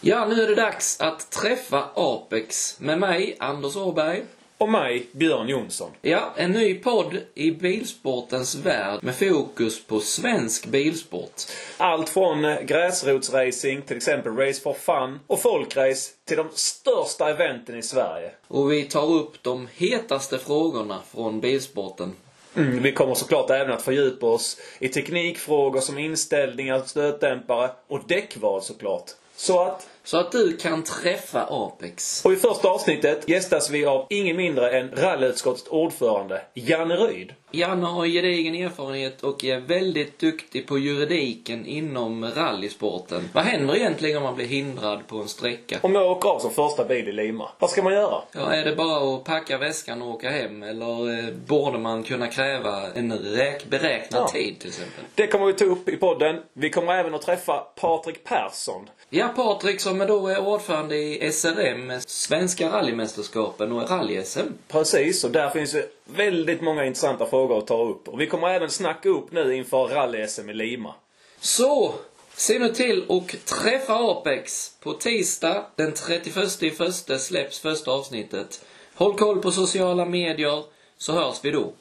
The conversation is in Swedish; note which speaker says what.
Speaker 1: Ja, nu är det dags att träffa Apex med mig, Anders Åberg.
Speaker 2: Och mig, Björn Jonsson.
Speaker 1: Ja, en ny podd i bilsportens värld med fokus på svensk bilsport.
Speaker 2: Allt från eh, gräsrotsracing, till exempel Race for Fun, och folkrace till de största eventen i Sverige.
Speaker 1: Och vi tar upp de hetaste frågorna från bilsporten.
Speaker 2: Mm, vi kommer såklart även att fördjupa oss i teknikfrågor som inställningar, stötdämpare och däckval såklart. Så att,
Speaker 1: Så att du kan träffa Apex.
Speaker 2: och i första avsnittet gästas vi av ingen mindre än rallyutskottets ordförande, Janne Ryd.
Speaker 1: Janne har gedigen erfarenhet och är väldigt duktig på juridiken inom rallysporten. Vad händer egentligen om man blir hindrad på en sträcka?
Speaker 2: Om jag åker av som första bil i Lima, vad ska man göra?
Speaker 1: Ja, är det bara att packa väskan och åka hem? Eller eh, borde man kunna kräva en räk- beräknad
Speaker 2: Ja.
Speaker 1: tid till exempel?
Speaker 2: Det kommer vi ta upp i podden. Vi kommer även att träffa Patrik Persson.
Speaker 1: Ja, Patrik som då är ordförande i SRM, Svenska rallymästerskapen och rally-SM.
Speaker 2: Precis, och där finns ju väldigt många intressanta frågor att ta upp. Och vi kommer även snacka upp nu inför rally-SM i Lima.
Speaker 1: Så, se nu till och träffa Apex. På tisdag den 31 i första släpps första avsnittet. Håll koll på sociala medier, så hörs vi då.